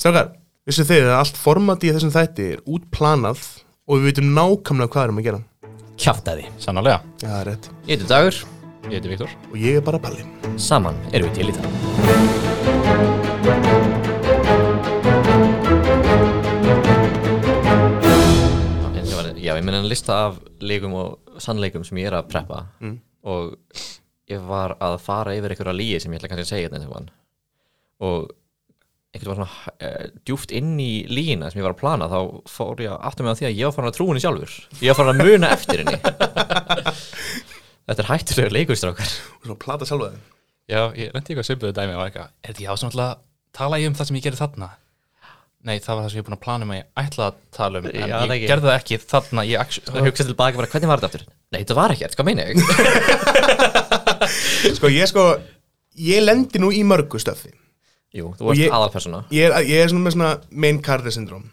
Strákar, vissu þið að allt format í þessum þætti er útplanað og við vitum nákvæmlega hvað erum að gera. Kjaftaði. Sannarlega. Já, það er rétt. Ég heiti Dagur, Ég heiti Viktor. Og ég er bara Palli. saman erum við til í það. En ég var, já, ég minn en lista af leikum og sannleikum sem ég er að preppa og ég var að fara yfir einhverja líi sem ég ætla kannski að segja hérna þetta einhvern og einhvern var svona uh, djúft inn í líina sem ég var að plana þá fór ég að aftur mig á því að ég var farin að trúin í sjálfur ég var farin að muna eftir henni Þetta er hættulegur leikustrákar Og svona plata sjálfa þig. Já, ég lendi eitthvað svipuðu dæmi og var eitthvað. Er þetta ég á sem alltaf tala ég um það sem ég gerði þarna? Nei, það var það sem ég er búin að plana um að ég ætla að tala um, en Já, ég það ekki. Sko- gerði það ekki þarna, ég actually, og hugsa tilbaka bara hvernig var þetta aftur Nei, þetta var ekkert, hvað meina ég? Sko, ég sko, ég lendi nú í mörgu stöfi. Jú, þú varst ég- aðalpersona Ég er, ég er svona með svona main cardi syndrom.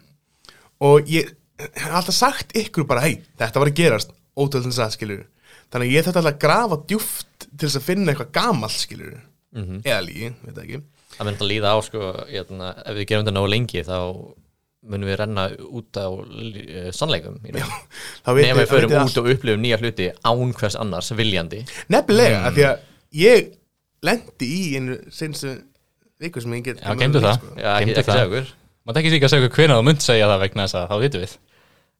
Og ég hef alltaf sagt ykkur bara, hei, þetta var að gerast, ótöldin sæð, skiljur. Þannig að ég þetta alltaf að grafa djúft til þess að finna eitthvað gamalt, skiljur. Mm -hmm. Eða lígi, veit það ekki. Það myndi að líða á, sko, hérna, ef við gerum þetta nógu lengi þá munum við renna út á eh, sannleikum í raun. Þá vitið- Nefnum við þá förum vitið út og upplifum nýja hluti án hvers annars viljandi Mm. Nefnilega, af því að ég lendi í einu senstu viku sem ég get Já, geymdu það. sko. Já, ekki, Geymdu ekki það. segur maður ekki líka að segja hvernig þú munt segja það vegna þess að þá vitum við.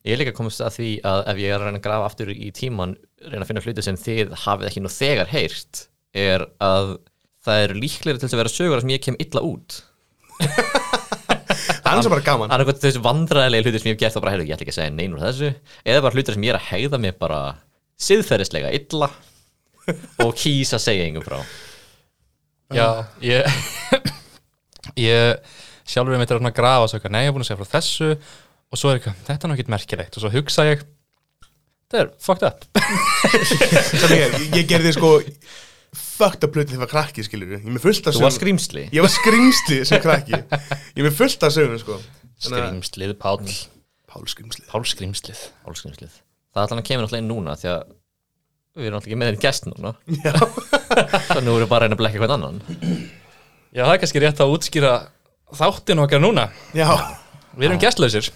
Ég er líka komist að því að ef ég er að reyna að grafa aftur í tíman reyna að finna hluti sem þið hafið ekki nú þegar heyrt er að það eru líklegri til þess að vera sögur þar sem ég kem illa út Það er svo bara gaman Það er eitthvað þessu vandræðilega hluti sem ég hef gert þá bara, heyrðu, ég ætla ekki að segja nein úr þessu eða bara hlutir sem ég er að hegða mér bara siðferðislega illa og kýsa að segja engum frá Já, ég ég sjálfur er meitt að grafa og svo eitthvað, nei, ég er búin að segja frá þessu og svo er eitthvað, þetta er nú ekkert merkilegt og svo hugsa ég, þetta er fucked up Sem ég, ég gerði sko fucked up hluti þegar ég var krakki skilur Ég er með fullt af Þú var skrýmsli Ég var skrýmsli sem krakki Ég er með fullt af sögum sko Þannig að- Skrýmslið, Páll Pál skrýmsli Páll Skrýmslið Álskrýmslið Það ætla hann að kemur náttúrulega inn núna því að við erum náttúrulega ekki með einn gest núna Já. Þannig nú erum við bara að reyna að blekka hvern annan Já, það er kannski rétt að útskýra þáttin okkar núna Já, Við erum gestlausir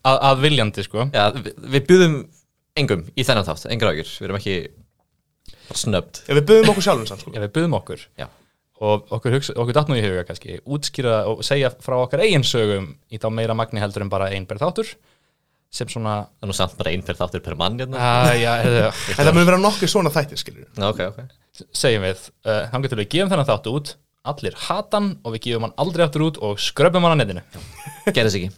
að, að viljandi, sko Já, við, við bjuðum engum í þennan þátt, engar ágjur Við erum ekki bara snöbbt ef við böðum okkur sjálfum sann sko Já, við buðum okkur Já, og okkur, hugsa, okkur datt nú í huga kannski útskýra og segja frá okkar eigin sögum í þá meira magni heldur en bara einber þáttur sem svona það er nú samt bara einn per þáttur per mann hérna að, já, eða, En það mun vera nokkuð svona þættir skilur Já, ok, ok segjum við uh, þangar til við gefum þennan þátt út allir hatan og við gefum hann aldrei aftur út og skröpum hann að netinu Gerðis ekki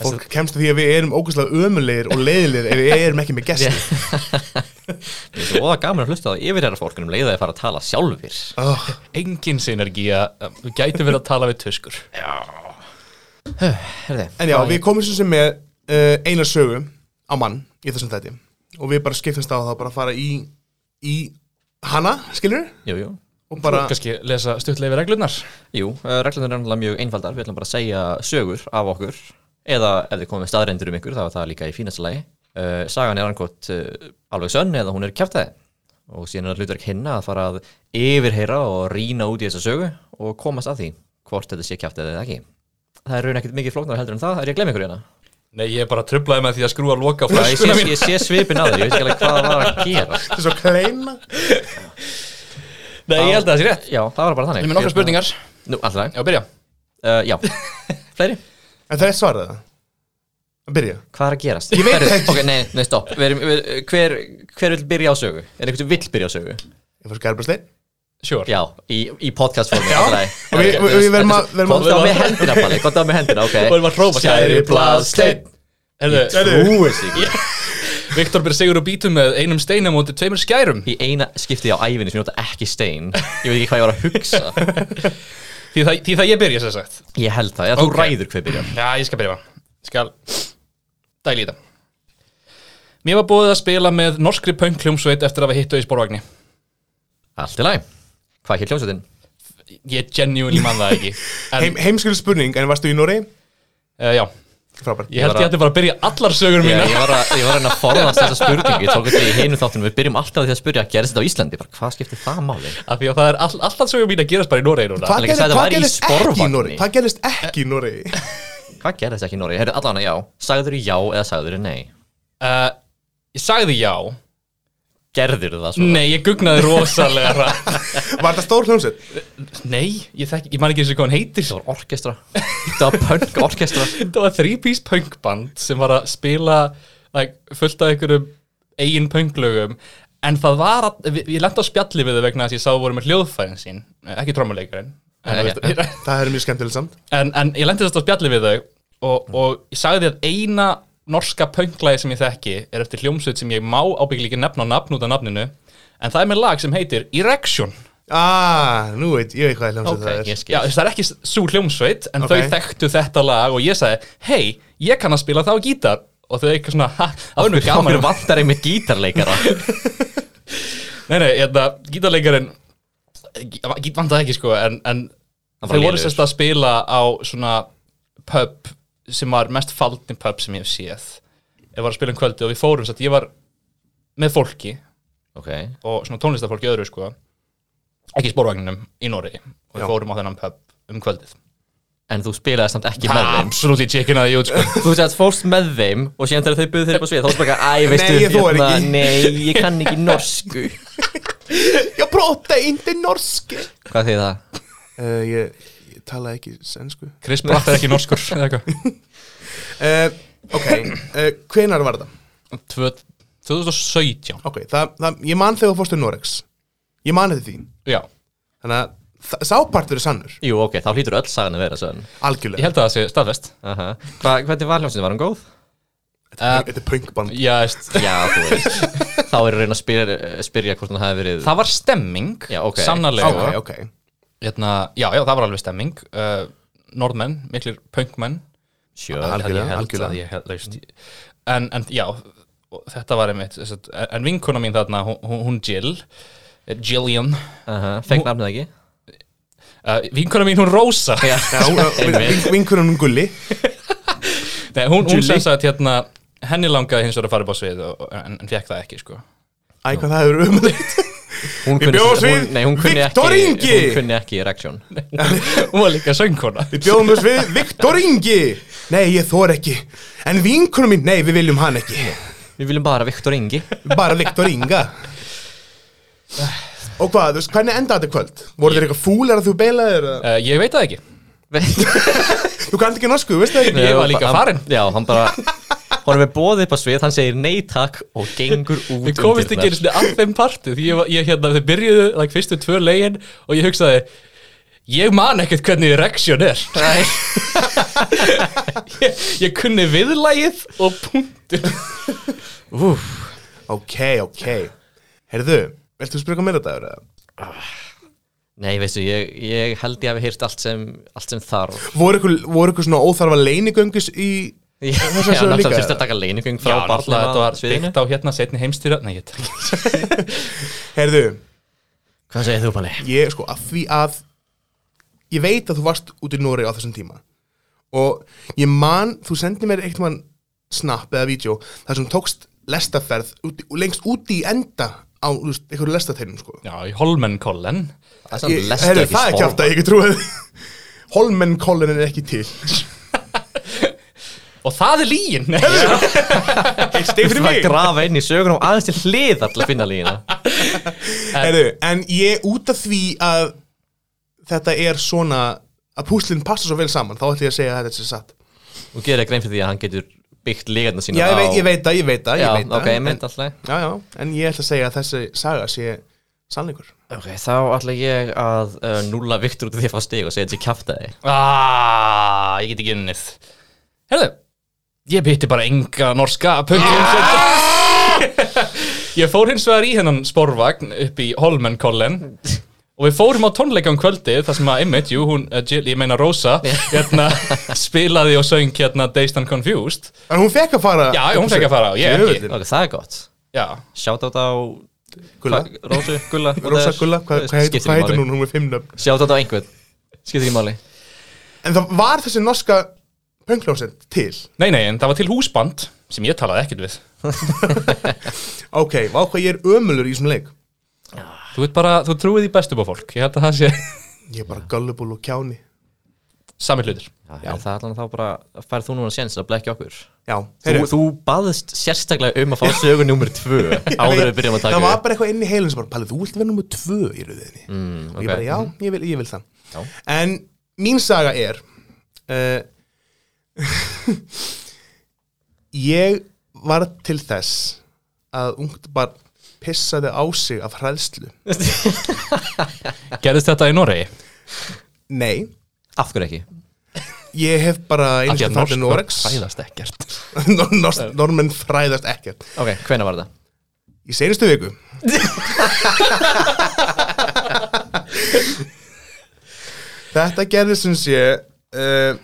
Fólk kemst að því að við erum ógustlega ömulegir og leiðilegir ef við erum ekki með gesti Ég er svo óða gaman að hlusta á um yfirherra fólkunum leiða að fara að tala sjálfur oh, engin synergía, um, við gætum verið að tala við tuskur Herði, En já, við komum sem sem með uh, eina sögu á mann í þessum þætti og við bara skiptumst á það bara að fara í, í hana, skilur jú, jú og bara, kannski lesa stuttlega við reglurnar Jú, reglunar er náttúrulega mjög einfaldar Við ætlum bara að segja sögur af okkur Eða ef þið komum með staðreindur um ykkur þá er það líka í fínasta lagi uh, Sagan er ankot uh, alveg sönn eða hún er kjæftæði Og síðan er það hlutverk hinna að fara að yfirheyra og rýna út í þessa sögu og komast að því hvort þetta sé kjæftæði eða ekki Það er raun ekkert mikið flóknar heldur en það, er ég að glemma ykkur hérna nei, ég er bara trublaði með því að skrúa loka Já, frá Ég sé, ég sé svipin að þér, ég veit ekki alveg hvað það var að gera til svo kleina nei, ég held að það sé rétt Já, það var bara þannig við með nokkra spurningar, Nú, alltaf, já, byrja uh, já Fleiri? En það er svarað það Að byrja Hvað er að gerast? Ég veit Herru, ekki. Ok, nei, nei, stopp við erum, við, hver, hver vil byrja á sögu? Er einhvern sem vill byrja á sögu? Ég fór skærbrastlein sure. Já, í, í podcastformi Já, Og við- við- við verðum að- verðum að- Komt á með hendina, Palli, komt á með hendina, og ok erum að hrópa Kæri Blaðsteinn. Herðu, Trúið sig Viktor byrja sigur og bítum með einum steina mútið tveimur skærum Í eina skipti á ævinni sem ég nota ekki stein Ég veit ekki hvað ég var að hugsa því það, því það ég byrja sér sagt Ég held það, já, þú Ok. ræður hver byrjar Já, ég skal byrja Ég skal dæli í þetta Mér var búið að spila með norskri pönkljómsveit eftir að við hittu í spórvagni Allt í læg Hvað hér hljómsveitin? Ég genuinely man það ekki en, Heim, Heimskjöld spurning, en varstu í Norei? uh, Já, frábært Ég held bara- ég ætti bara að byrja allar Já, sögur mína ég var að, ég var að reyna að forðast þessa spurningu Ég tók þetta í hinum þáttunum, við byrjum alltaf á því að spyrja Gerðist þetta á Íslandi, bara hvað skiptir það máli? Af því að það er all, allar sögur mína gerast bara í Noregi núna Hvað Alveg gerist- sagði, hvað var í gerist ekki í sporvagni. Noregi? Hvað gerist ekki í Noregi? Hvað gerðist ekki í Nóri? Heyrðu, allan að já, sagður þú já eða sagður þú nei? uh, Ég sagði já Gerður það svo? Nei, ég gugnaði rosalega hratt. Var þetta stór hljómsveit? Nei, ég, þekki, ég man ekki eins og hvað hann heitir Það var orkestra, það var punk orkestra Þetta var þrípís punkband sem var að spila like, fullt af einhverjum eigin punklögum en það var að, við- ég lendi á spjalli við þau vegna þess að ég sá að voru með hljóðfærin sín Eh, ekki trommuleikurinn en, Nei, en, Það er mjög skemmtilegt samt en, en ég lendi þess að spjalli við þau og, og ég sagði að eina norska pönglæði sem ég þekki er eftir hljómsveit sem ég má ábyggilega ekki nefna á nafn út af nafninu en það er með lag sem heitir Erection Ah, nú veit, ég veit hvað hljómsveit Ok, það er ég Já, skil þess, það er ekki svo hljómsveit en Ok. þau þekktu þetta lag og ég sagði hei, ég kann að spila það á gítar og þau eitthvað svona, ha, það var nú gaman Okkur vantar einmitt gítarleikara Nei, nei, hérna, gítarleikarinn gít vandaði ekki sko en, en Hann þau var voru lélegur. sérst að spila á svona pub sem var mest faldin pub sem ég hef séð ég var að spila um kvöldi og við fórum sérst, ég var með fólki Ok, og svona tónlistafólki öðru sko ekki í spórvagninum í Nóri og við Já. fórum á þennan pub um kvöldið en þú spilaði samt ekki með þeim Absolutely chicken að ég út sko Þú veist að fórst með þeim og síðan þegar þau buðu þeir upp á svið þá varst bara, æ, veistu Nei, ég þori hérna, ekki." Nei, ég kann ekki norsku Ég próta indi norski Hvað þýðir það? uh, Ég, ég tala ekki sensku Chris Pratt er ekki norskur eða eitthvað uh, Ok, uh, hvenar var það? Tvö- 2017 Ok, það, það, ég man þegar þú fórstu Norex Ég man þetta því Já, Þannig að þa- sá partur er sannur, Jú, ok, þá hlýtur öll sagan að vera svona ég algjörlega held að það sé staðfest Aha. Hva, Hvernig var hljómsinu, var hann góð? uh, Þetta er punkband Já, veist Já, þú veist Þá er að reyna að spyrja, spyrja hvort hann hafi verið Það var stemming, Já, ok. sannarlega Ok, ok hérna, já, já, það var alveg stemming uh, Norðmenn, miklir punkmenn Sjö Algjörlega, Ég held algjörlega. að ég held, veist, en, en já, og þetta var einmitt þess að- en- En vinkona mín þarna, hún- hún, hún Jill eh, Jillian Aha, Fekk nafnið ekki? uh, Vinkona mín, hún Rosa Já, Já, vin- Vinkunum hún gulli Nei, Hún, hún Julie. sem sagt, hérna, henni langaði hins vegar að fara upp á svið og, en, en fekk það ekki, sko Æ, hvað það hefur umlegt Hún Við bjóðumst hún- við Nei, hún kunni Viktor ekki Ingi. Hún kunni ekki reaksjón Hún var líka söngkona Við bjóðum þess við Viktor Ingi Nei, ég þor ekki En vinkunum mín, nei, við viljum hann ekki Við viljum bara Viktor Ingi Bara Viktor Inga Og hvað, þú veist, hvernig endaði þetta kvöld? Voru þér eitthvað fúlar að þú beilaðir? eða? uh, Ég veit það ekki Þú kannt ekki norsku, veist það ekki? Ég var líka Hann- farin. Já, hann bara Honum er boðið upp á svið, hann segir nei takk og gengur út Við um komist ekki dyrnar. einu sinni að þeim partu Því ég, var- ég hérna, þau byrjuðu like, fyrstu tvö legin Og ég hugsaði Ég man ekkert hvernig reaksjón er ég, ég kunni viðlægið og punktur Ok, ok Herðu, viltu spyrja mér þetta? eða? Nei, veistu, ég, ég held ég hafi heyrt allt sem, allt sem þarf Voru ykkur, voru ykkur svona óþarfa leinigöngis í Já, þessar sögur náttúrulega líka, þurfti að eða? taka leiningöng frá Já, náttúrulega þetta var sviðinu byggt á hérna setni heimstýra Nei, ég tek Herðu, Hvað segir þú, Palli? ég sko að því að Ég veit að þú varst út í Nóri á þessum tíma Og ég man, þú sendi mér eitt mann snapp eða vídeo þar sem tókst lestaferð út, lengst úti í enda á þú veist, einhverju lestategnum sko Já, í Holmenkollen Það er samt lest Herru, ekki það er kjátt spór að ég ekki trúið Holmenkollin er ekki til Og það er lígin Eitt steg Það að grafa inn í sögunum aðeins til hliðar til að finna lína Herru, en ég út af því að þetta er svona að púslinn passa svo vel saman þá ætlum ég að segja að þetta er satt Þú gerir grein fyrir því að hann getur byggt lígarna sína Já, ég veit, ég á veit það, ég veit það, Já, ég veit það ok, ég en, mynd alltaf Já, já, en ég ætla að segja að þessi saga sé sannleikur Ok, þá ætla ég að uh, núla Viktor út af því að fá stig og segja þetta kjátt að þig ah, Ég get ekki unnið Herðu Ég bytti bara enga norska punktum Ég fór hins vegar í hennan sporvagn upp í Holmenkollen Og við fórum á tónleika um kvöldið þar sem að Emmett, jú, hún, eh, Jill, ég meina Rosa hérna, spilaði og söng hérna Dazed and Confused En hún fekk að fara Já, hún fekk að fara og ég ekki Jöfullinn. Ok, það er gott Já, Sjátt á Gulla, Rósu, Gulla Rósa Gulla, hvað hva heitir, hva heitir hún, hún er fimmnöfn Sjátt á einhvern Skiptir ekki máli En það var þessi norska pöngljónsett til Nei, nei, en það var til húsband sem ég talaði ekkert við Ok, vá hvað ég er ömulur í þessum leik Þú veit bara, þú trúið í bestu bá fólk Ég held að það sé Ég er bara gullible og kjáni sami hlutur Já, já. Það er allan þá bara, færð þú núna séns að blekja okkur Já, Þú, heyrðu, þú baðist sérstaklega um að fá sögu nummer tvö áður við byrjum að taka það var upp. bara eitthvað inn í heilin sem bara, Palli, þú vilt vera nummer tvö í röðinni mm, og ég bara, ok. já, ég vil, ég vil það Já. en mín saga er uh, ég var til þess að ungt bara pissaði á sig af hræðslu Gerðist þetta í Noregi? nei, Af hverju ekki? ég hef bara einu Af því sinni að farið til norsk Noregs fræðast ekkert Nor- nors- normenn fræðast ekkert Ok, hvenær var það? í seinustu viku þetta gerði sem sé uh,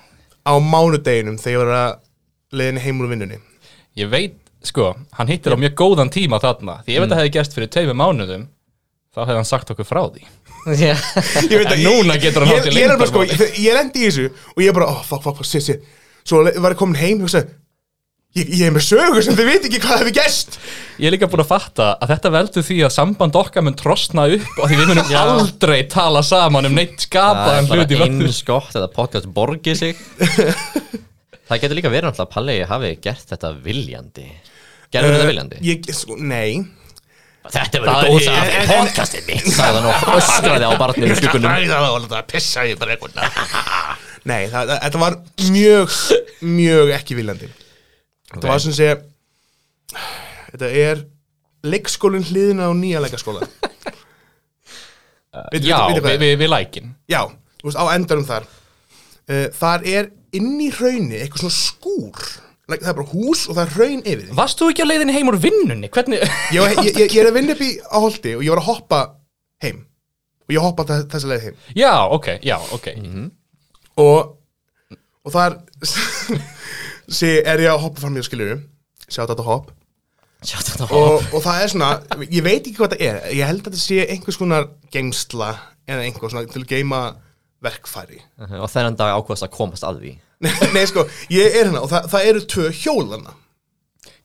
á mánudeginum þegar ég var að leiðin heimur úr vinnunni Ég veit, sko, hann hittir á mjög góðan tíma þarna Því ef þetta hefði gerst fyrir tveimur mánuðum Þá hefði hann sagt okkur frá því ég veit að En núna getur hann ég, haldið ég, er bara, sko, leyndarmáli. ég, ég lendi í þessu og ég bara, oh, fuck, fuck, fuck, shit, shit svo le- var ég komin heim og sagði ég, ég er með sögu sem þið veit ekki hvað hefur gæst Ég er líka búin að fatta að þetta veldur því að samband okkar mun trosna upp og því við munum aldrei tala saman um neitt Það skapaðan er hlut í bara völdu eins gott að podcast borgi sig Það getur líka verið náttúrulega að Palli hafi gert þetta viljandi Gerður þetta viljandi? ég, sko, nei Þetta Uh, það verður góð er- saga fyrir podcastið mitt sagði hann og öskraði á barnum í skuggunum það var alltaf að pissa ég bara eitthvað nei, það, það, þetta var mjög mjög ekki viljandi þetta var sem sé þetta er leikskólinn hliðina á nýja leikaskóla Veitu- veitu- Já, veitu hvað við, er? við, við lækin Já, þú veist, á endanum þar uh, Þar er inn í hraunni eitthvað svona skúr like, Það er bara hús og það er hraun yfir því Varst þú ekki á leiðinni heim úr vinnunni? Hvernig? ég, var- ég, ég, ég er að vinna upp í á holdi og ég var að hoppa heim Og ég hoppa þess, þessa leið heim já, ok, já, ok Og, og þar sé, er ég að hoppa fram í skilju Sjá þetta hopp Sjá þetta á og, og það er svona, ég veit ekki hvað það er Ég held að þetta sé einhvers konar geimsla Eða einhver svona til að geima verkfæri Og þennan dag ákvæðast að komast að því Nei, sko, ég er hérna og það, það eru tvö hjólana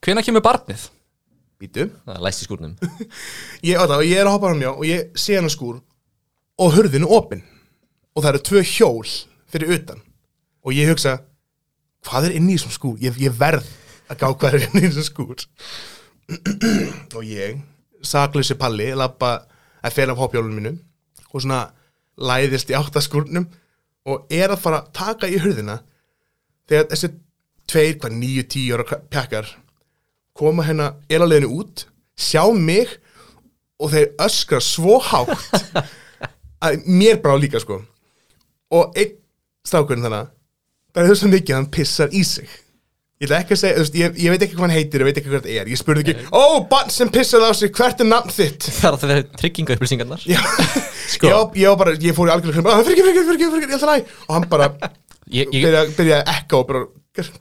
Hvenær kemur barnið? Býtu Það er Læst í skúrnum ég, á það, og ég er að hoppa fram hjá og ég sé hann skúr og hurðin er opin og það eru tvö hjól fyrir utan og ég hugsa hvað er inn í þessum skúr, ég, ég verð að gá hvað er inn í þessum skúr og ég saklausi palli, labba að fer af hoppjólunum mínu og svona læðist í áttaskúrnum og er að fara að taka í hurðina þegar þessi tveir, hvað, níu, tíu ára kra- pjakkar koma hérna elaleginu út, sjá mig og þeir öskra svo hátt að mér brá líka sko og einn strákurinn þannig það er þess að mikið að hann pissar í sig ég ætla ekki að segja, þú veist, ég, ég veit ekki hvað hann heitir ég veit ekki hvað þetta er, ég spurði ekki ó, barn sem pissar á sig, hvert er nafn þitt Það er að það verið trygginga upplýsingarnar já, sko. ég, var- ég, var bara, ég fór í algjörlega hreim, fyrir ekki, fyrir ekki, fyrir ekki, fyrir ekki, ég ætla læg og hann bara Ég, ég, byrjaði byrja að ekka og bara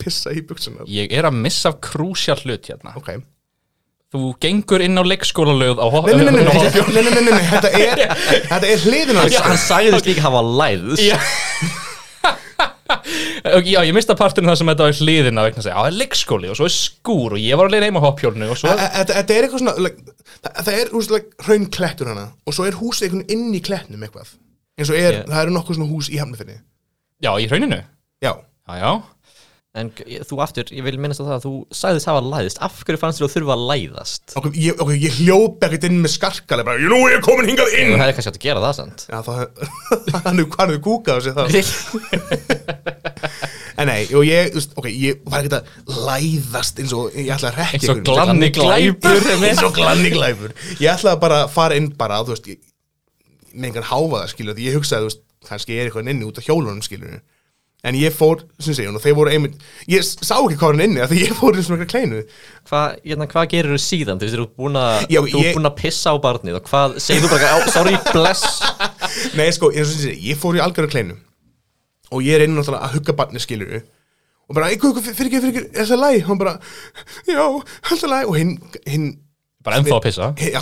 pissa í buksunar ég er að missa af krúsjál hlut hérna ok, nei, Þú gengur inn á leikskólalöð á ho- nei, nei, nei, nei, nei, nei, nei, nei, nei. þetta er þetta er hliðin á Já, þessu Hann sagði þess líka hafa læðs Já. Ok, Já, ég mista partinu það sem þetta var í hliðina vegna þess að það er leikskóli og svo er skúr og ég var að leiða heim á hoppjólnu og svo Þa- þa- Þetta þetta er eitthvað svona like, þa- Það er úst, like, hraun klettur hana Og svo er húsið einhvern veginn inn í klettnum eitthvað eins og er, Já. það eru nokkuð svona hús í hafnafinni Já, í hrauninu Já, Já, já En g- þú aftur, ég vil minnast á það að þú sagði þess hafa læðst Af hverju fannst þú þurfa að læðast? okkur, ég, okkur, ég hljóp ekkert inn með skarkali bara, nú er ég komin hingað inn Og það er kannski hægt að gera það sant Já, þá hann hefur hann hefur kúkað á sig það En nei, og ég, úst, ok, ég var ekkert að læðast eins og ég ætla að rekja Eins og glanni glæpur eins og glanni glæpur ég ætlaði bara að fara inn bara þú veist, ég, með einhvern háfa það skilur því ég hugsaði, þú veist, kannski ég er eitthvað inni út á hjólunum skilur en ég fór, sem segjum, og þeir voru einmitt ég s- sá ekki hvað var hann inni, af því ég fór eins og einhverja kleinu Hvað hérna, hva gerir þú síðan? Þú veist, þú ert búin að- Já, þú ert ég- búin að pissa á barnið og hvað, segir þú bara, "Á, sorry, bless Nei, sko, eins og sem segjum, ég fór í algjörðu kleinu og ég er inn náttúrulega að hugga barni skilur og bara, eitthvað, eitthvað, fyrir ekki, fyrir ekki, er það læg? Hann bara, já, alltaf læg og hinn, hinn Bara ennþá að pissa Hi- já,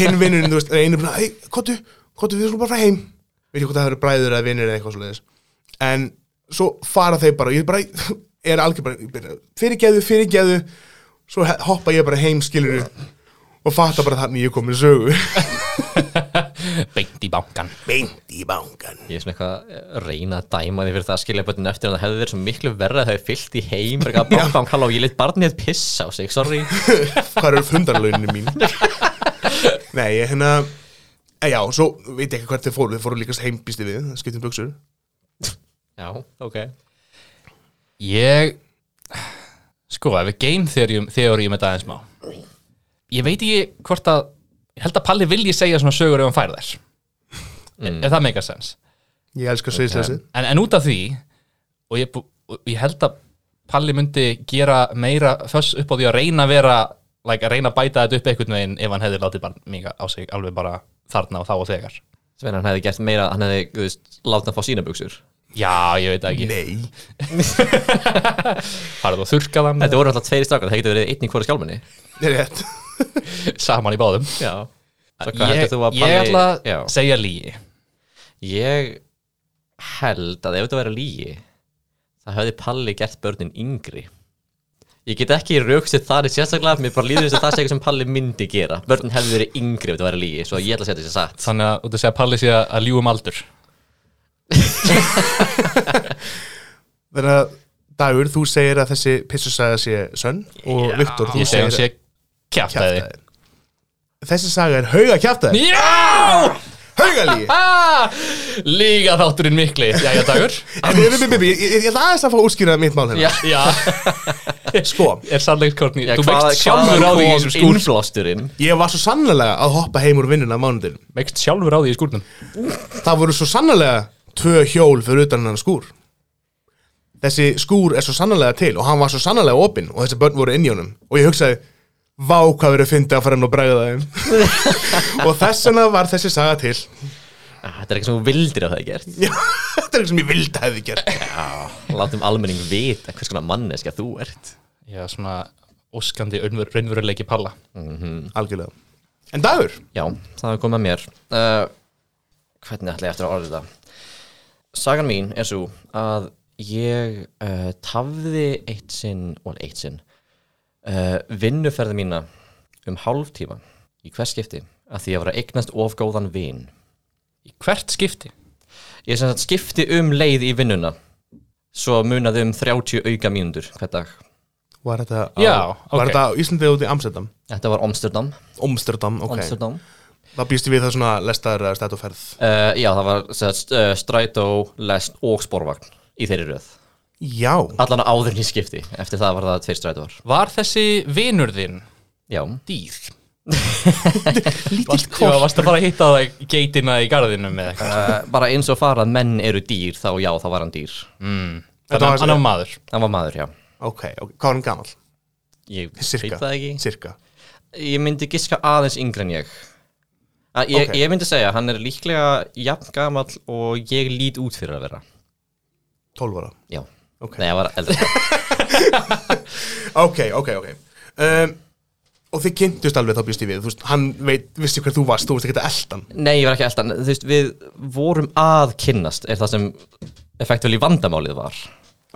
hinn vinnurinn, þú veist, er einu bara, hei, kottu, kottu, við skulum bara fara heim veit ég hvort það eru bræður eða vinnir eða eitthvað svoleiðis en svo fara þeir bara, ég er bara er algjör bara fyrirgeðu, fyrirgeðu svo he- hoppa ég bara heim skilur og fatta bara þannig ég kom í sögu beint í bankan beint í bankan Ég er svona eitthvað að reyna að dæma því fyrir það að skilja bötnin eftir en það hefði verið svo miklu verra að það hefði fyllt í heim og eitthvað bám, bám, kalla og ég leitt barnið pissa á sig, sorry hvað eru fundarlaunin mín nei, ég hérna eh, já, svo veit ég ekki hvert þið fóru þið fóru líkast heimbýsti við, skiptum buksur Já, ok Ég Sko, ef við game theory, theory með það eins má Ég veit ekki hvort að Ég held að Palli vilji segja svona sögur ef hann fær þær mm. Ef það meika sens ég elska sveisleysi en, en út af því og ég, bú- og ég held að Palli myndi gera meira föss upp á því að reyna að vera like, að reyna að bæta þetta upp einhvern veginn ef hann hefði látið bara mika á sig alveg bara þarna og þá og þegar Svein, hann hefði gert meira, hann hefði, þú veist, látið að fá sína buksur Já, ég veit það ekki, nei, farið og þurrkað hann Þetta voru alltaf tveiri strákar, það getur verið einn í hvora skjálminni er rétt saman í báðum Já Svo hvað Ég, heldur þú að ég ætla Palli að segja lígi Já Ég held að ef þetta væri lígi það hefði Palli gert börnin yngri Ég get ekki raukst það er sérstaklega, mér bara líður þess að það sé eitthvað sem Palli myndi gera Börnin hefði verið yngri ef þetta væri lígi, svo ég ætla að setja þessi satt Þannig að út að segja Palli sé að- að ljúum aldur þannig að Dagur, þú segir að þessi pissusaga sé sönn og Viktor, þú Ég segi segir hann sé kjaftaði kjaftaði þessi saga er hauga kjaftaði Já! haugalíi Ah! Líga þátturinn mikli Jæja dagur En ég- ég- ég- ég- ég- Ég ætla aðeins að fá útskýrað mitt mál hérna Já, Sko, er sannleikskortni Já, Þú hvað- veikst sjálfur á hvaðan því í kom þessum skúr innblásturinn ég var svo sannlega að hoppa heim úr vinnuna á mánudin Veikst sjálfur á því í skúrnum Það voru svo sannlega tvö hjól fyrir utan hann skúr Þessi skúr er svo sannlega til og hann var svo sannlega opinn og þessi börn voru inn í honum og ég hugsaði Vá hvað verið að fyndi að fara hann og bregða þeim Og þess vegna var þessi saga til ah, Þetta er eitthvað sem þú vildir að það er gert Já, Þetta er eitthvað sem ég vildi að hefði gert Látum almenning vita hvers konar manneska þú ert Já, svona óskandi raunver, raunveruleiki palla Algjörlega En dagur, Já, það er komið að mér uh, Hvernig ætla ég eftir að orða þetta? Sagan mín er svo að ég uh, tafði eitt sinn og eitt sinn uh, vinnuferði mína um hálf tíma í hvers skipti að því að vera eignast ofgóðan vin Í hvert skipti Ég sem sagt skipti um leið í vinnuna svo munaði um 30 auka mínútur hver dag var þetta á, Já, var ok. þetta á Íslandi út í Amsterdam Þetta var Amsterdam, Omsterdam, ok Amsterdam. Það býst ég við það svona lestar uh, stætt og ferð Uh, Já, það var sem sagt, uh, strætó, lest og sporvagn í þeirri röð Já, Allan áður en ég skipti, eftir það var það tveir strætóar Var þessi vinur þinn Já, dýr? Lítill kort Já, varstu bara að hitta það í geitina í garðinum eða eitthvað uh, bara eins og farað menn eru dýr, þá já, þá var hann dýr Þetta var- Þannig að hann var maður Hann var maður, já ok, ok, hvað var hann gamall? Ég Cirka. veit það ekki Cirka Ég myndi giska aðeins yngri en ég A, ég, Ok. ég myndi segja, hann er líklega jafn gamall og ég lít út fyrir að vera 12 ára Já, Ok. nei, ég var eldri Ok, ok, ok um, Og þið kynntust alveg þá býst ég við Þú veist, hann veit, vissi hver þú varst, þú veist ekki þetta eldan Nei, ég var ekki eldan, þú veist, við vorum að kynnast er það sem effektuál í vandamálið var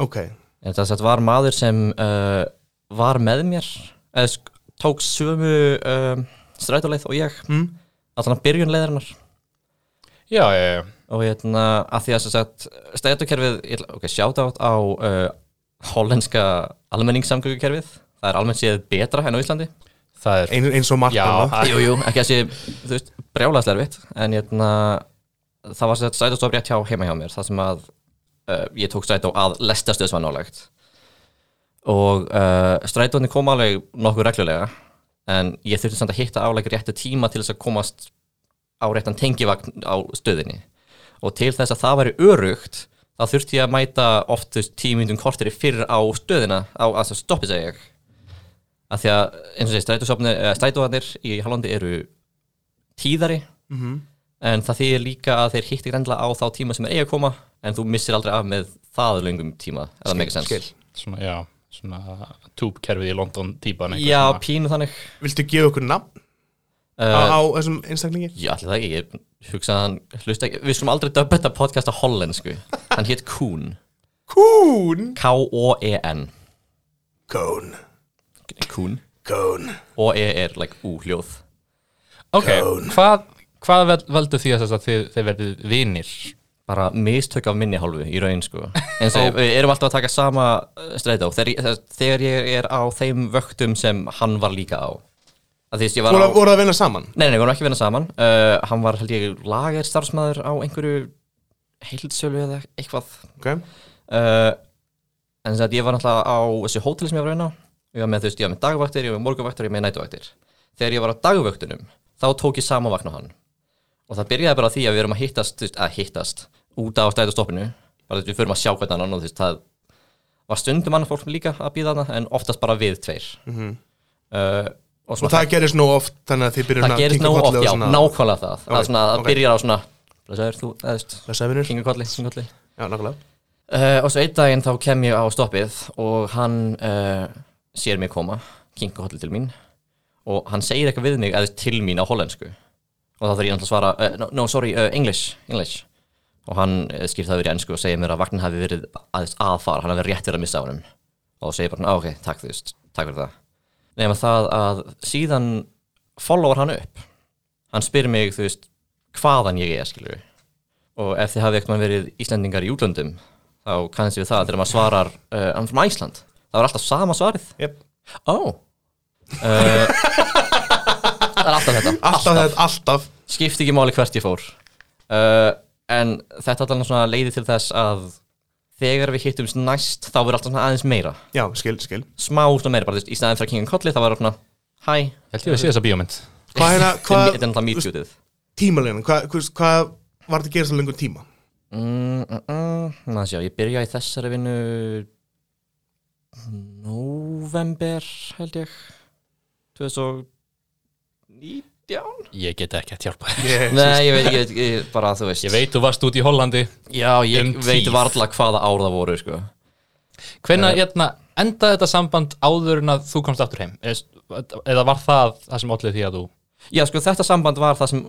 Ok, En það sagt var maður sem uh, var með mér eða sk- tók sömu uh, strætóleið og ég mm. allan að byrjun leiðarinnar Já, já, já og hérna að því að sem sagt strætókerfið, ég ætla- ok, shoutout á uh, hollenska almenningssamgöngukerfið það er almennt séð betra en á Íslandi Það er Ein, eins og margt Já, annað. það- Jú, jú, ekki að sé, þú veist, brjálæðslega erfitt en hérna, það var sætt strætóstof rétt hjá heima hjá mér, þar sem að uh, ég tók strætó að lestastöð sem var nálegt og uh, strætóni kom alveg nokkuð reglulega en ég þurfti samt að hitta álega réttu tíma til þess að komast á réttan tengivagn á stöðinni og til þess að það væri örugt þá þurfti ég að mæta oftust tímyndum kortir fyrir á stöðina á að það stoppi segja ég að því að eins og segir strætóðanir í Hollandi eru tíðari Mhm. en það þýðir líka að þeir hittir endla á þá tíma sem er eiga að koma en þú missir aldrei af með það löngum tíma er það megasens skil. svona, já Svona túbkerfið í London típan einhver já, svona. pínu þannig Viltu gefa okkur nafn á, uh, á þessum einstaklingi? já, allir það ekki, ég hugsa að hann hlusta ekki við skulum aldrei döpa þetta podcast á hollensku hann hétt Kuhn Kún K-O-E-N Kón Kún Kón O-E er E like U-hljóð Ok, hvað, hvað vel- veldur því að þess að þið, þið verðið vinir? bara mistök af minni hálfu í raun sko en svo við erum alltaf að taka sama uh, strætó þegar, ég- þegar ég er á þeim vöktum sem hann var líka á að því að ég var Voru á voru að vinna saman? Nei, nei, við vorum ekki að vinna saman uh, Hann var, held ég, lager starfsmæður á einhverju heildsölu eða eitthvað Ok uh, En þess að ég var náttúrulega á þessu hótel sem ég var að vinna á. Ég var með, þú veist, ég var með dagvaktir, ég var með morgunvaktir og ég var með nætuvaktir Þegar ég var á dagvöktunum, þá tók ég sama vakna hann Og það byrjaði bara á því að við erum að hittast, þú veist, að hittast út á stæðustoppinu Bara þú veist, við förum að sjá hvernig annan og þú veist, það var stundum annað fólk líka að býða hana En oftast bara við tveir uh, og, svona Og það gerist nóg oft þannig að þið byrjum það gerist nógu oft, já, nákvæmlega það Ok, að svona, það ok. byrjar á svona blessaður, þú, eða veist, Blessaður, vinur. kinga kolli, kinga kolli Já, nákvæmlega uh, og svo einn daginn þá kem ég á stoppið og hann uh, sér mig koma kinga kolli til mín og hann segir eitthvað við mig, eða veist, til mín á hollensku og þá þarf ég náttúrulega að svara uh, no, no, sorry, uh, English, English og hann uh, skýr það verið ennsku og segir mér að vagnin hafi verið aðeins aðfara, hann hafi rétt verið að missa á honum og þá segir bara, "Ah, ok, takk þú veist, takk fyrir það nema það að síðan followar hann upp hann spyr mig, þú veist, hvaðan ég er, skilur og ef þið hafið eitthvað verið Íslendingar í útlöndum þá kannast ég við það þegar maður svarar uh, I'm from Iceland, það var alltaf sama svarið yep. Ó oh. Það er alltaf þetta Alltaf, þetta, alltaf skipti ekki máli hvert ég fór uh, en þetta allan svona leiði til þess að þegar við hittumst næst þá verður alltaf svona aðeins meira Já, skil, skil smá svona meira, bara þú veist, í staðin fyrir að kinga kolli þá verður svona, hæ Held ég að sé þessa bíómynd Hvað er það, þetta er hvað náttúrulega mítjútið tímalegin, hvað, hvað, hvað var þetta að gera svo lengur tíma? mm, mm, mm, maður sjá, ég byrja í þessari vinnu november held ég 2019 Ég get ekki að hjálpa þér. Yeah. Nei, ég veit, ég veit, ég, bara þú veist Eh, Ég veit þú varst út í Hollandi Já, ég um veit tíð. varla hvaða ár það voru, sko Hvenær hérna, endaði þetta samband áður en að þú komst aftur heim? Eða eða var það það sem allir því að þú Já, sko, þetta samband var það sem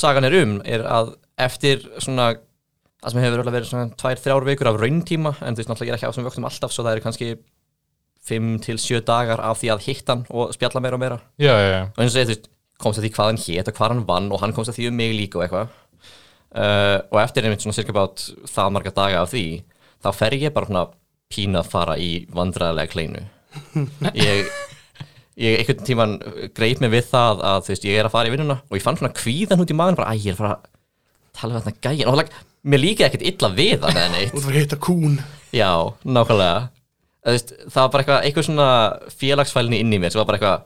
sagan er um, er að eftir svona, það sem hefur örugglega verið svona tvær, þrjár vikur af rauntíma en þú veist náttúrulega ég er ekki á þessum vöktum alltaf svo það eru kannski fimm til sjö dagar af því að hitta hann og spjalla meira og meira Já, já, já og eins og segja, þú veist, komst að því hvað hann hét og hvað hann vann og hann komst að því um mig líka og eitthvað uh, og eftir einmitt svona cirka bát það marga daga af því þá fer ég bara svona pína að fara í vandræðilega kleinu ég, ég einhvern tíman greip mig við það að þú veist, ég er að fara í vinnuna og ég fann svona kvíðan út í maður bara, æ, ég er að fara að tala við þetta gæjan og like, mér líka ekkert illa við hann eða neitt Þú þarf að hitta kún Já, nákvæmlega Þú veist, Það var bara eitthvað, eitthvað svona félagsfælni inn í mér sem var bara eitthvað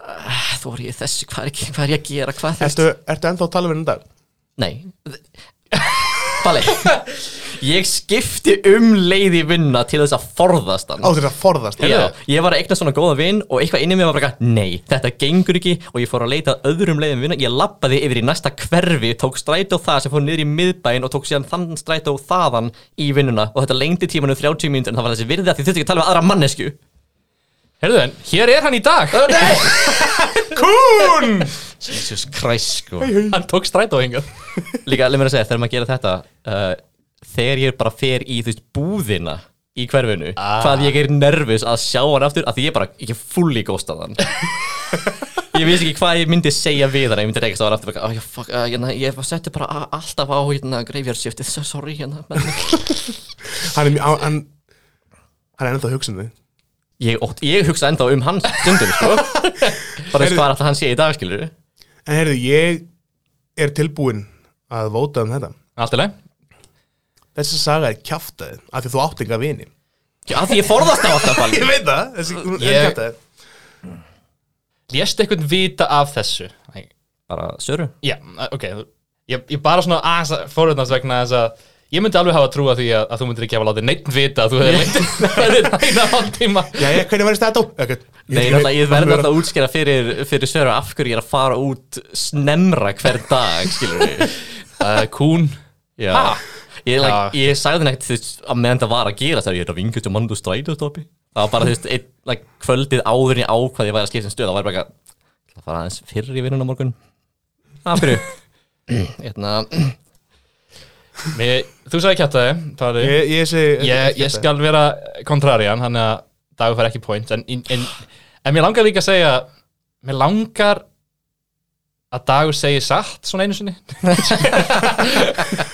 "Ah, Þú er ég í þessu, hvað er, hvað er ég að gera, hvað er Ertu, ertu ennþá að tala við henni dag? Nei Palli Ég skipti um leið í vinna til þess að forðast hann Á þetta forðast Já, ég var að eigna svona góða vinn og eitthvað inni í mér var bara eitthvað, nei, þetta gengur ekki og ég fór að leita að öðrum leiðum vinna, ég lappaði yfir í næsta hverfi, tók strætó það sem fór niður í miðbæin og tók síðan þann strætó þaðan í vinnuna og þetta lengdi tímanu 30 mínútur en það var þessi virði að því þurfti ekki að tala við aðra mannesku Herðu en, hér er hann í dag Kún! Jesus Christ sko Hann tók strætó hingað Líka, leið mér að segja, þegar maður gera þetta uh, þegar ég bara fer í þú veist búðina í hverfinu, hvað ég er nervus að sjá hann aftur, að því ég bara ekki fulli góstað hann ég vissi ekki hvað ég myndi segja við hann ég myndi reykast á hann aftur bara, oh, fuck, uh, hérna, ég bara setti bara a- alltaf á hérna, graveyardshiftið, so sorry hérna. Hann er, mjög- á- hann, hann er ennþá að hugsa um þig ég, ótt, ég hugsa ennþá um hann stundum sko. bara veist hvað er alltaf hann sé í dag skilur En heyrðu, ég er tilbúinn að vóta um þetta Allt er leið Þessi saga er kjaftaði af því þú átt enga vini að því ég forðast á alltaf Palli. Ég veit það, þessi hún er Ég- kjaftaði Lést eitthvað vita af þessu? Nei. bara söru Já, ok Ég, ég bara svona aðeins fórhundans vegna þess að Ég myndi alveg hafa trúa því að, að þú myndir ekki hafa látið neitt vita að þú hefði leitt Það er hálftíma Jæja, hvernig var þetta á? Ekkert. Nei, ég, ég verði alltaf að útskýra fyrir, fyrir Söru af hverju ég er að fara út snemra hver dag, skilur við. uh, Kún Já. Ha? Ég, Já. like, ég sagði henni ekkert þú veist, að meðan það var að gera þegar ég er að vingast um mandu strætóstoppi. Það var bara, þú veist, einn, like, kvöldið áður en ég ákvað ég væri að skipta um stöð. Það var bara eitthvað, ég ætla að fara aðeins fyrir í vinnuna á morgun. Það fyrir. Hérna, Mér, þú sagði kjartaði, það er Ég, ég segi ég, ég skal vera kontrarian þannig að dagur fær ekki point en, en, en, en mér langar líka að segja mér langar að dagur segi satt svona einu sinni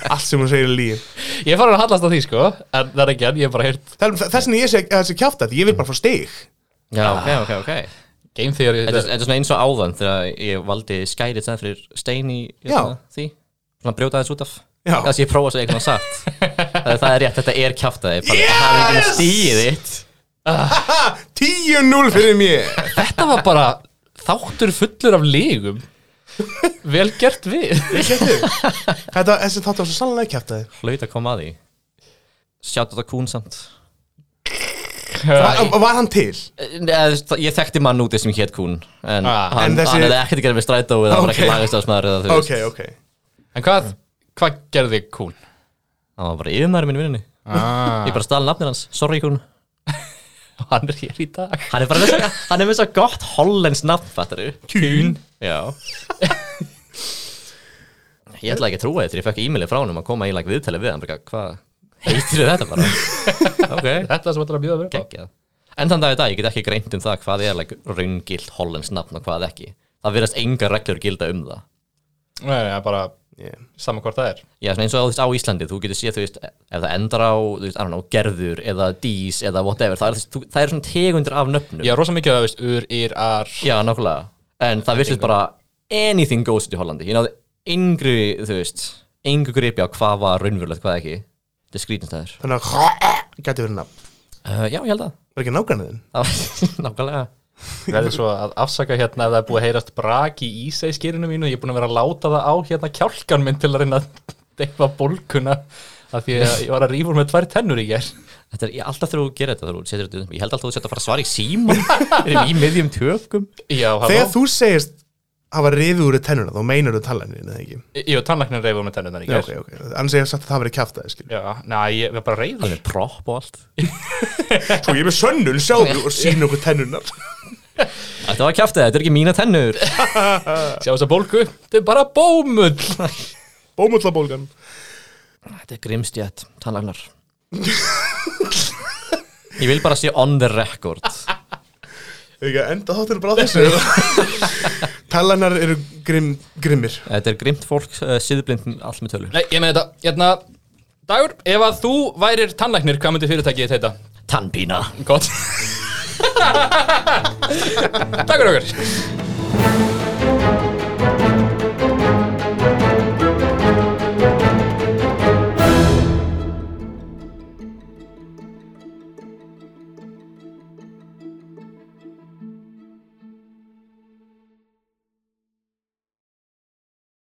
Allt sem hún segir er líf ég er farin að hallast að því sko en það er ekki enn, ég hef bara heyrt Þessin ég segi þessi kjáft að ég vil bara fá stig Já, ok, Ah. ok, ok game theory Þetta er þetta er svona eins og áðan þegar ég valdi skærið sem fyrir stein í hérna, því Svona brjóta þess út af Já. Það sem ég prófa að segja eitthvað satt það, það er rétt, þetta er kjaftaði Yes! Það er ekki með stíðið þitt 10-0 fyrir mér þetta var bara þáttur fullur af lígum vel gert við Þetta, þessi þáttu var svo sannlega kjáft að Hlaut að koma að því Sjátt þetta kún samt þið Var hann til? Nei, Eh, það- Ég þekkti mann úti sem hétt kún En Ah, hann, en þessi- hann hefði ekkert að gera með strætó Það var ekki Ok. lagastafsmaður eða þú Ok, veist ok en hvað, hvað gerði kún? Hann var bara yfirmaður minn í vinnunni Ah. Ég bara stala nafnir hans, sorry kún hann er hér í dag Hann er bara með svo, hann er með svo gott hollens nafn, fattar kún Já Ég ætla ekki að trúa þetta, ég fekk e-maili frá hann um að koma í like, viðtali við hann, bara, hvað heitir þetta bara? ok, þetta sem þetta er að býða að vera geggjað En þann dag í dag, ég get ekki greint um það hvað er like, raungilt hollens nafn og hvað ekki Það verðast enga reglur gilda um það Nei, nei, það er bara yeah. saman hvort það er Já, svona eins og á, þú veist, á Íslandi, þú getur séð, þú veist, ef það endar á, þú veist, I don't know, gerður eða dís eða whatever, það er, þú veist, þú- það er svona tegundir af nöfnum Já, rosa mikið að það veist, ur, ir, ar Já, nákvæmlega En það virtist bara anything goes í Hollandi Ég náði yngri, þú veist Engu gripi á hvað var raunverulegt, hvað ekki Þetta er skrýtinstæður Þannig að gæti verið nafn uh, Já, ég held að Var ekki nágranniðin? Það var- Nákvæmlega Verður svo að afsaka hérna ef það er búið að heyrast brak í ísæskirinu mínu Ég er búin að vera að láta það á hérna kjálkan minn til að reyna að deyfa bólkuna af því að ég var að rífur með tvær tennur í ger Þetta er ég- alltaf þegar þú gerir þetta þegar þú setur þetta upp. Ég held alltaf þú sett að fara að svara í síman Erum í miðjum tökum Já, Þegar halló þú segist hafa riðið úr tennuna þá meinar þú talanin eða ekki Jú, tannlæknir reyfur með tennurnar í Já, ger ok, ok Annars segja satt að það verið kjáft að þið Já, næ, ég var bara reyfur Það er prop og allt Svo ég er með sönnun, sjáðu og sínu okkur tennunar Þetta var kjaftið, þetta er ekki mína tennur Sjá þess að bólku, þetta er bara bómull Bómullabólgan Þetta er grimstjætt, tannlagnar Ég vil bara sé on the record Ekki að enda þáttir bara á þessu Talanar eru grimm, grimmir Þetta er grimt fólk, uh, síðblind, allt með tölu Nei, ég með þetta, hérna Dagur, ef að þú værir tannlæknir, hvað myndi fyrirtækið þetta? Tannpína Gott Takk fyrir okkur